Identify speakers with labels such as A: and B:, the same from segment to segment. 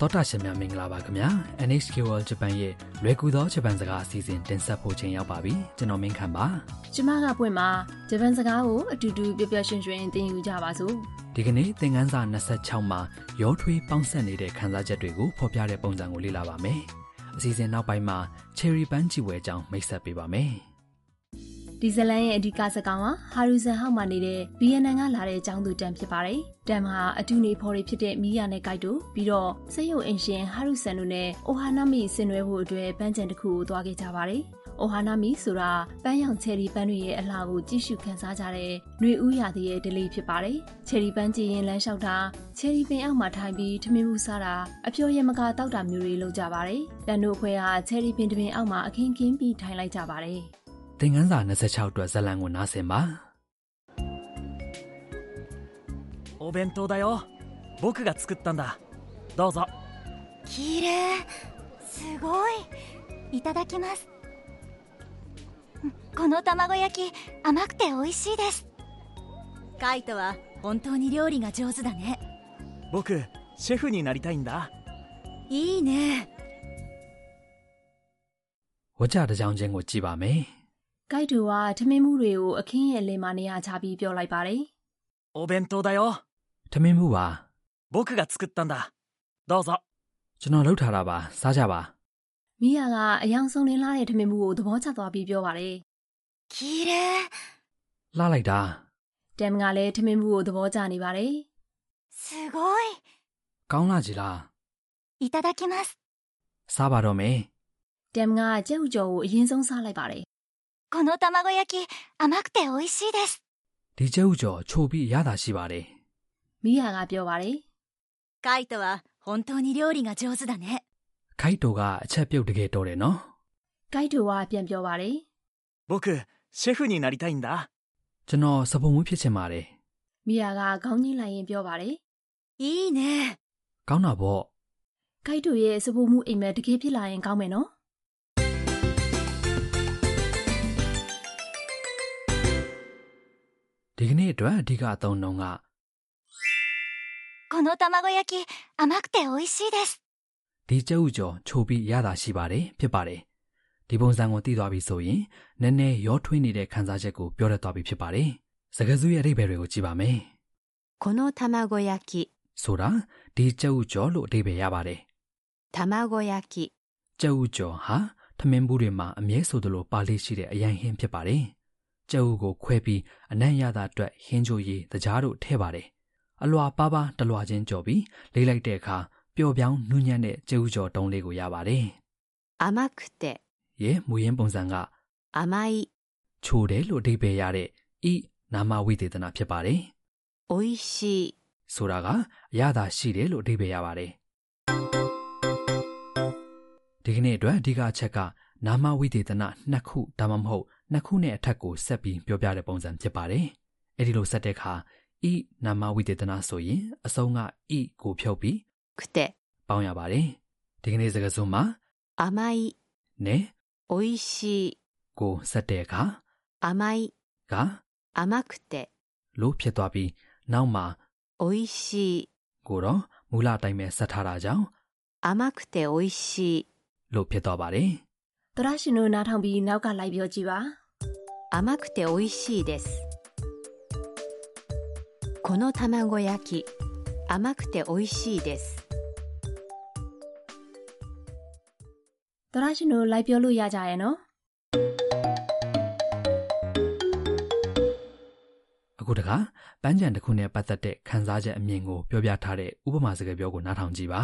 A: သောတာရှင်များမင်္ဂလာပါခင်ဗျာ NHK World Japan ရဲ့လွယ်ကူသောဂျပန်စကားအစီအစဉ်တင်ဆက်ဖို့ချိန်ရောက်ပါပြီကျွန်တော်မင်းခမ်းပါ
B: ကျမကပွင့်မှာဂျပန်စကားကိုအတူတူပျော်ပျော်ရွှင်ရွှင်သင်ယူကြပါစို့
A: ဒီကနေ့သင်ခန်းစာ26မှာရောထွေးပေါင်းဆက်နေတဲ့ခန်းစားချက်တွေကိုဖော်ပြတဲ့ပုံစံကိုလေ့လာပါမယ်အစီအစဉ်နောက်ပိုင်းမှာ Cherry ပန်းကြည်ဝဲအကြောင်းမိတ်ဆက်ပေးပါမယ်
B: ဒီဇလန်ရဲ့အဓိကစကားဟာဟာရူဇန်ဟောက်မှာနေတဲ့ဗီယက်နမ်ကလာတဲ့အကြောင်းသူတန်ဖြစ်ပါတယ်တန်ဟာအတူနေဖော်တွေဖြစ်တဲ့မီယာနဲ့ဂိုက်တို့ပြီးတော့စေယုံအင်ရှင်ဟာရူဆန်တို့နဲ့အိုဟာနာမီဆင်နွှဲဖို့အတွက်ပန်းချံတစ်ခုကိုသွားခဲ့ကြပါတယ်အိုဟာနာမီဆိုတာပန်းရောင်ချယ်ရီပန်းတွေရဲ့အလှကိုကြည့်ရှုခန်းစားကြတဲ့ຫນွေဥရာသီရဲ့ဒလေးဖြစ်ပါတယ်။ချယ်ရီပန်းကြည်ရင်လမ်းလျှောက်တာချယ်ရီပင်အောက်မှာထိုင်ပြီးထမင်းမှုစားတာအဖျော်ရမကတောက်တာမျိုးတွေလုပ်ကြပါတယ်။တန်တို့အခွဲဟာချယ်ရီပင်တစ်ပင်အောက်မှာအခင်းကင်းပြီးထိုင်လိုက်ကြပါတယ်။
A: သင်ခန်းစာ26အတွက်ဇာတ်လမ်းကိုနားဆင်ပါ
C: お弁当だよ僕が作ったんだどうぞ
D: きれいすごいいただきますこの卵焼き甘くて美味しいですカイトは本当に料理が上手だね
C: 僕シェフになりたいんだ
D: いいね
A: ဝါကြတစ်ကြောင်ချင်းကိုကြည့်ပါမယ်
B: ဂိုက်တူကထမင်းမှုတွေကိုအခင်းရဲ့လယ်မှာနေရာချပြီးပြောလိုက်ပါတယ်
C: お弁当だよ
A: ထမင်းမှုပါ
C: 僕が作ったんだどうぞ
A: ကျွန်တော်လှုပ်ထားတာပါစားကြပါ
B: ။မိယာကအယောင်ဆုံးလင်းလာတဲ့ထမင်းမှုကိုသဘောချသွားပြီးပြောပါတယ်
D: きれい
A: လှလိုက်တာ
B: ။တမ်ကလည်းထမင်းမှုကိုသဘောချနေပါတယ်
D: すごい
A: ကောင်းလာကြလား
D: いただきます
A: စားပါတော့မယ်
B: ။တမ်ကကြက်ဥကြော်ကိုအရင်ဆုံးစားလိုက်ပါတယ်
D: この卵焼き甘くて美味しいです
A: ဒီကျုပ်ကျော်ချိုပြီးရတာရှိပါတယ်
B: ။မိယာကပြောပါတယ်
D: カイトは本当に料理が上手だね
A: ခိုက်တိုကအချက်ပြုတ်တကယ်တော်တယ်နော်
B: ။ဂိုက်တူကပြန်ပြောပါတယ်
C: 僕シェフになりたいんだ
A: ကျွန်တော်စပုံမွေးဖြစ်ချင်ပါတယ်
B: ။မိယာကခေါင်းကြီးလိုက်ရင်ပြောပါတယ်
D: いいね
A: ။ကောင်းတာပေါ့
B: ။ဂိုက်တူရဲ့စပိုမှုအိမ်မက်တကယ်ဖြစ်လာရင်ကောင်းမယ်နော်
A: ဒီကနေ့အတွက်အဓိကအသုံးနှုန်းက
D: この卵焼き甘くて美味しいです
A: ဒီကျုပ်ကျော်ချိုပြီးရတာရှိပါတယ်ဖြစ်ပါတယ်။ဒီပုံစံကိုသိသွားပြီဆိုရင်နည်းနည်းရောထွေးနေတဲ့ခံစားချက်ကိုပြောရသွားပြီဖြစ်ပါတယ်။စကားစုရဲ့အဓိပ္ပာယ်တွေကိုကြည့်ပါမယ်
E: この卵焼き、
A: ။ဆိုတာဒီကျုပ်ကျော်လို့အဓိပ္ပာယ်ရပါတယ်
E: 卵焼き、
A: ။ကျုပ်ကျော်ဟာထမင်းဘူးတွေမှာအမြဲဆိုသလိုပါလိရှိတဲ့အရန်ဟင်းဖြစ်ပါတယ်။ကျုပ်ကိုခွဲပြီးအနံ့ရတာအတွက်ဟင်းချိုရည်တကြားတို့ထည့်ပါတယ်။အလွာပါပါတလွာချင်းကြော်ပြီးလေးလိုက်တဲ့အခါပျော်ပြောင်းနူးညံ့တဲ့ကျုပ်ကျော်တုံးလေးကိုရပါတယ်
E: 甘くて、
A: ။ရဲမူရင်းပုံစံက
E: 甘い、
A: ချိုတယ်လို့အဓိပ္ပာယ်ရတဲ့ဤနာမဝိသေသနာဖြစ်ပါတယ်
E: 美味しい、
A: ။ဆိုတာကအရသာရှိတယ်လို့အဓိပ္ပာယ်ရပါတယ်။ဒီကနေ့အတွက်အဓိကအချက်ကနာမဝိသေသနာနှစ်ခုဒါမှမဟုတ်နှစ်ခုနဲ့အထက်ကိုဆက်ပြီးပြောပြတဲ့ပုံစံဖြစ်ပါတယ်။အဲဒီလိုဆက်တဲ့အခါဤနာမဝိသေသနာဆိုရင်အဆုံးကဤကိုဖြုတ်ပြီး
E: くて、
A: ပေါင်းရပါတယ်။ဒီကနေ့စကားစုမှာ
E: 甘い、
A: နဲ
E: 美味しい、
A: ကိုဆက်တဲ့အခါ
E: 甘い、
A: က
E: 甘くて、
A: လို့ဖြစ်သွားပြီးနောက်မှာ
E: 美味しい、
A: ကိုတော့မူလအတိုင်းပဲဆက်ထားတာကြောင့်
E: 甘くて美味しい、
A: လို့ဖြစ်သွားပါတယ်
B: ။သရရှင်တို့နားထောင်ပြီးနောက်ကလိုက်ပြောကြည့်ပါ
E: 甘くて美味しいです。この卵焼き、甘くて美味しいです。
B: ။သရရှင်တို့လိုက်ပြောလို့ရကြရဲ့နော်
A: ။အခုတခါပန်းချံတစ်ခုနဲ့ပတ်သက်တဲ့ခန်းစားချက်အမြင်ကိုပြောပြထားတဲ့ဥပမာစကားပြောကိုနားထောင်ကြည့်ပါ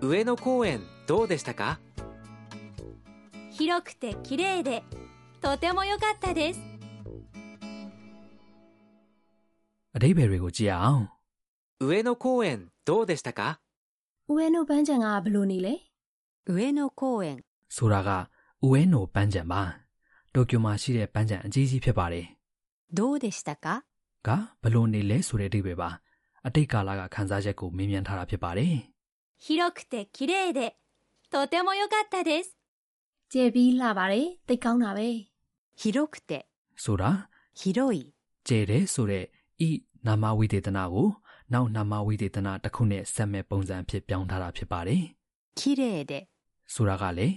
F: 上野公園どうでしたか
D: 広くて綺麗でとても良かったです
A: ။အတိပ္ပယ်တွေကိုကြည့်ရအောင်
F: 上野公園どうでしたか
B: ။ဦးဝဲနိုပန်းချံကဘယ်လိုနေလဲ
E: 上野公園、
A: ။ဆိုတာကဥဝဲနိုပန်းချံပါ။တိုကျိုမှာရှိတဲ့ပန်းချံအကြီးကြီးဖြစ်ပါတယ်
E: どうでしたか
A: ။ကဘလို့နေလဲဆိုတဲ့အတိပ္ပယ်ပါ။အတိတ်ကာလကခန်းစားချက်ကိုမေးမြန်းထားတာဖြစ်ပါတယ်
D: 広くて綺麗でとても良かったです
B: ။ကျေပြီးလှပါတယ်။သိပ်ကောင်းတာပဲ။
E: 広くて、
A: ။ဆိုတာ
E: 広い、
A: ကျဲတယ်ဆိုတဲ့ဤနာမဝိသေသနာကို နောက်နာမဝိသေသနာတစ်ခုနဲ့ဆက်မဲ့ပုံစံဖြစ်ပြောင်းထားတာဖြစ်ပါတယ်
E: 綺麗で、
A: ။ဆိုတာကလည်း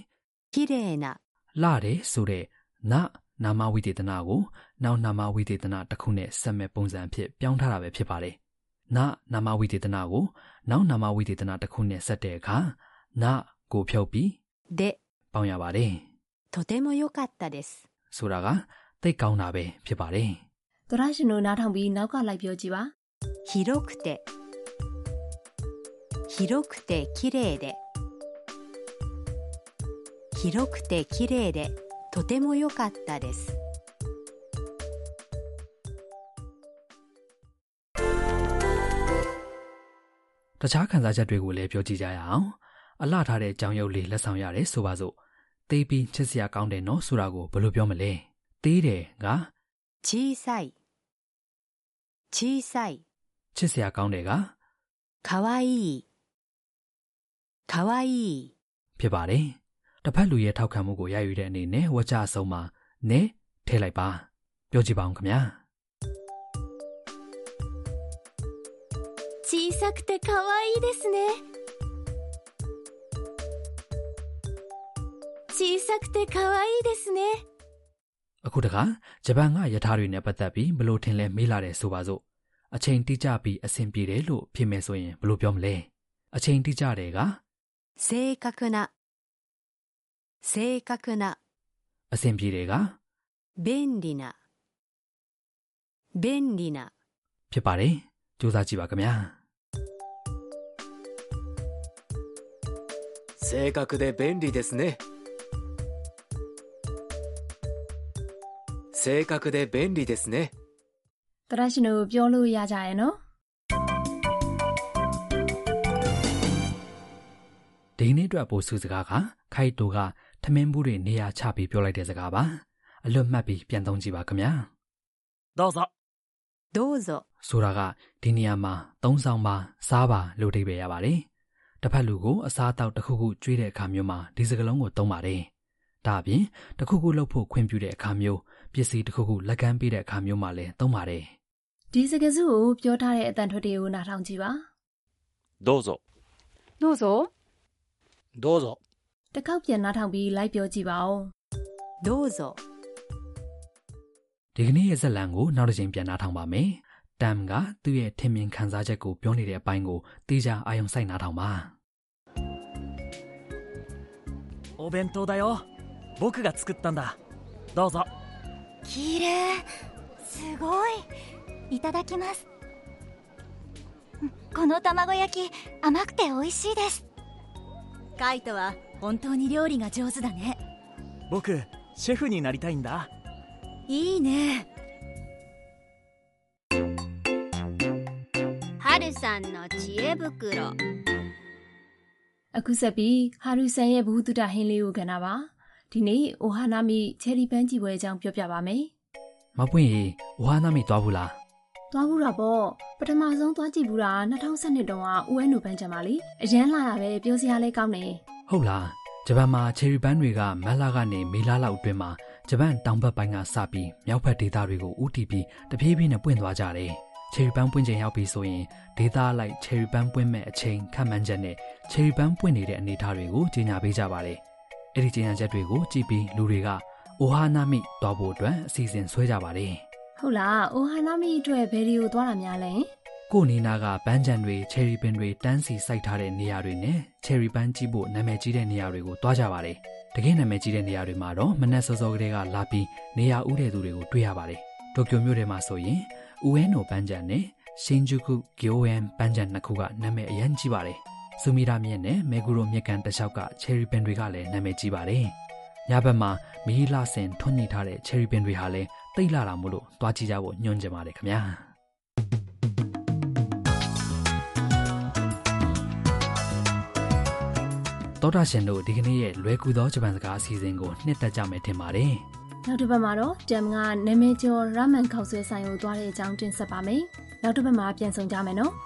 E: 綺麗な、
A: လှတယ်ဆိုတဲ့နနာမဝိသေသနာကိုနောက်နာမဝိသေသနာတစ်ခုနဲ့ဆက်မဲ့ပုံစံဖြစ်ပြောင်းထားတာပဲဖြစ်ပါတယ်။နနာမဝိသေသနာကိုနောက်နာမဝိသေသနာတစ်ခုနဲ့ဆက်တဲ့အခါနကိုဖြုတ်ပြီး
E: で、
A: ပေါင်းရပါတယ်။
E: とても良かったです。
A: ဆိုတာကသိပ်ကောင်းတာပဲဖြစ်ပါတယ်
B: သောရရှင်တို့နားထောင်ပြီးနောက်ကလိုက်ပြောကြည့်ပါ
E: 広くて、広くて綺麗で、広くて綺麗で、とても良かったです。
A: ။တခြားခံစားချက်တွေကိုလည်းပြောကြည့်ကြရအောင်။အလှထားတဲ့ကြောင်ရုပ်လေးလက်ဆောင်ရတယ်ဆိုပါစို့။သေးပြီးချစ်စရာကောင်းတယ်နော်ဆိုတာကိုဘယ်လိုပြောမလဲ။သေးတယ်က
E: 小さい、小さい、
A: ချစ်စရာကောင်းတယ်က
E: かわいい、かわいい、
A: ဖြစ်ပါတယ်။တစ်ဖက်လူရဲ့ထောက်ခံမှုကိုရယူတဲ့အနေနဲ့ဝါကြအဆုံးမှာနဲထည့်လိုက်ပါ။ပြောကြည့်ပါဦးခင်ဗျာ
D: 小さくて可愛いですね小さくて可愛いですね
A: ။အခုတခါဂျပန်ကယထာတွေနဲ့ပတ်သက်ပြီးဘယ်လိုထင်လဲမေးလာတယ်ဆိုပါစို့။အချိန်တိကျပြီးအဆင်ပြေတယ်လို့ဖြစ်မယ်ဆိုရင်ဘယ်လိုပြောမလဲ။အချိန်တိကျတယ်က
E: 正確な、正確な、
A: အဆင်ပြေတယ်က
E: 便利な、便利な、
A: ဖြစ်ပါတယ်စူးစမ်းကြည့်ပါခင်ဗျာ
F: 正確で便利ですね正確で便利ですね
B: ။သောရရှင်တို့ပြောလို့ရကြရဲ့နော်
A: ဒီနေ့အတွက်ပို့စုစကားကခိုက်တိုကထမင်းဘူးတွေနေရာချပြီးပြောလိုက်တဲ့စကားပါအလွတ်မှတ်ပြီးပြန်သုံးကြည့်ပါခင်ဗျာ
C: どうぞ
E: どうぞ、
A: ဆိုတာကဒီနေရာမှာသုံးဆောင်ပါစားပါလို့အဓိပ္ပာယ်ရပါတယ်တစ်ဖက်လူကိုအစားအသောက်တစ်ခုခုကျွေးတဲ့အခါမျိုးမှာဒီစကားလုံးကိုသုံးပါတယ်ဒါအပြင်တစ်ခုခုလုပ်ဖို့ခွင့်ပြုတဲ့အခါမျိုးပစ္စည်းတစ်ခုခုလက်ကမ်းပေးတဲ့အခါမျိုးမှာလည်းသုံးပါတယ်
B: ။ဒီစကားစုကိုပြောထားတဲ့အတန်ထွက်တွေကိုနားထောင်ကြည့်ပါ
G: どうぞ
H: どうぞ
G: どうぞ
B: ။တစ်ခေါက်ပြန်နားထောင်ပြီးလိုက်ပြောကြည့်ပါဦး
E: どうぞ、
A: ဒီကနေ့ရဲ့ဇာတ်လမ်းကိုနောက်တစ်ချိန်ပြန်နှားထောင်ပါမယ်။တမ်ကသူ့ရဲ့ထင်မြင်ခံစားချက်ကိုပြောနေတဲ့အပိုင်းကိုတေချာအာယုံစိုက်နှားထောင်ပါ
C: お弁当だよ僕が作ったんだどうぞ
D: 綺麗すごいいただきますこの卵焼き甘くて美味しいですカイトは本当に料理が上手だね
C: 僕シェフになりたいんだ
D: いいねはるさんの知恵袋
B: ။အခုဆက်ပြီးဟာရူဆန်ရဲ့ဘ ഹു တုတ္တဟင်းလေးကိုကဏ္ဍပါ။ဒီနေ့အိုဟာနာမိချယ်ရီပန်းကြီးပွဲအကြောင်းပြောပြပါမယ်
A: ။မပွင့်ရေဝါနာမိသွားဘူးလား
B: ။သွားဘူးတာပေါ့ပထမဆုံးသွားကြည့်ဘူးတာ2012တုန်းက UNO ပန်းချံပါလေ။အရန်လာတာပဲပြောစရာလဲကောင်းတယ်
A: ။ဟုတ်လား။ဂျပန်မှာချယ်ရီပန်းတွေကမတ်လကနေမေလလောက်အတွင်းမှာဂျပန်တောင်ဘက်ပိုင်းကစပြီးမြောက်ဘက်ဒေသတွေကိုဥတီပြီးတပြေးပြေးနဲ့ပွင့်သွားကြတယ်။ချယ်ရီပန်းပွင့်ချိန်ရောက်ပြီဆိုရင်ဒေသအလိုက်ချယ်ရီပန်းပွင့်မဲ့အချိန်ခန့်မှန်းချက်နဲ့ချယ်ရီပန်းပွင့်နေတဲ့အနေအထားတွေကိုကြီးညာပေးကြပါတယ်။အဲ့ဒီကြီးညာချက်တွေကိုကြည့်ပြီးလူတွေကအိုဟာနာမိသွားဖို့အတွက်အစီအစဉ်ဆွဲကြပါတယ်။
B: ။ဟုတ်လားအိုဟာနာမိအတွက်ဘယ်ဒီကိုသွားတာများလဲ
A: ကိုနီနာကပန်းချံတွေချယ်ရီပင်တွေတန်းစီစိုက်ထားတဲ့နေရာတွေနဲ့ချယ်ရီပန်းကြီးဖို့နာမည်ကြီးတဲ့နေရာတွေကိုတွားကြပါတယ်။တကယ်နာမည်ကြီးတဲ့နေရာတွေမှာတော့မနက်စောစောကတည်းကလာပြီးနေရာဥတဲ့သူတွေကိုတွေ့ရပါတယ်။တိုကျိုမြို့ထဲမှာဆိုရင်ဥဝဲနိုပန်းချံနဲ့ရှင်ဂျူကုဂီယိုဝမ်ပန်းချံနှစ်ခုကနာမည်အရင်ကြီးပါတယ်။ဆူမီရာမြစ်နဲ့မေဂူရိုမြစ်ကန်တစ်လျှောက်ကချယ်ရီပင်တွေကလည်းနာမည်ကြီးပါတယ်။ညဘက်မှာမီးလာစင်ထွန်းညှိထားတဲ့ချယ်ရီပင်တွေဟာလည်းတိတ်လာတာမို့လို့တွားကြည့်ကြဖို့ညွှန်ကြပါတယ်ခင်ဗျာ။ ။သောတာရှင်တို့ဒီကနေ့ရဲ့လွယ်ကူသောဂျပန်စကားအစီအစဉ်ကိုနှစ်သက်ကြမယ်ထင်ပါတယ်
B: ။နောက်တစ်ပတ်မှာတော့တမ်ကနာမည်ကျော်ရာမန်ခေါက်ဆွဲဆိုင်ကိုသွားတဲ့အကြောင်းတင်ဆက်ပါမယ်။နောက်တစ်ပတ်မှာပြန်ဆောင်ကြမယ်နော်။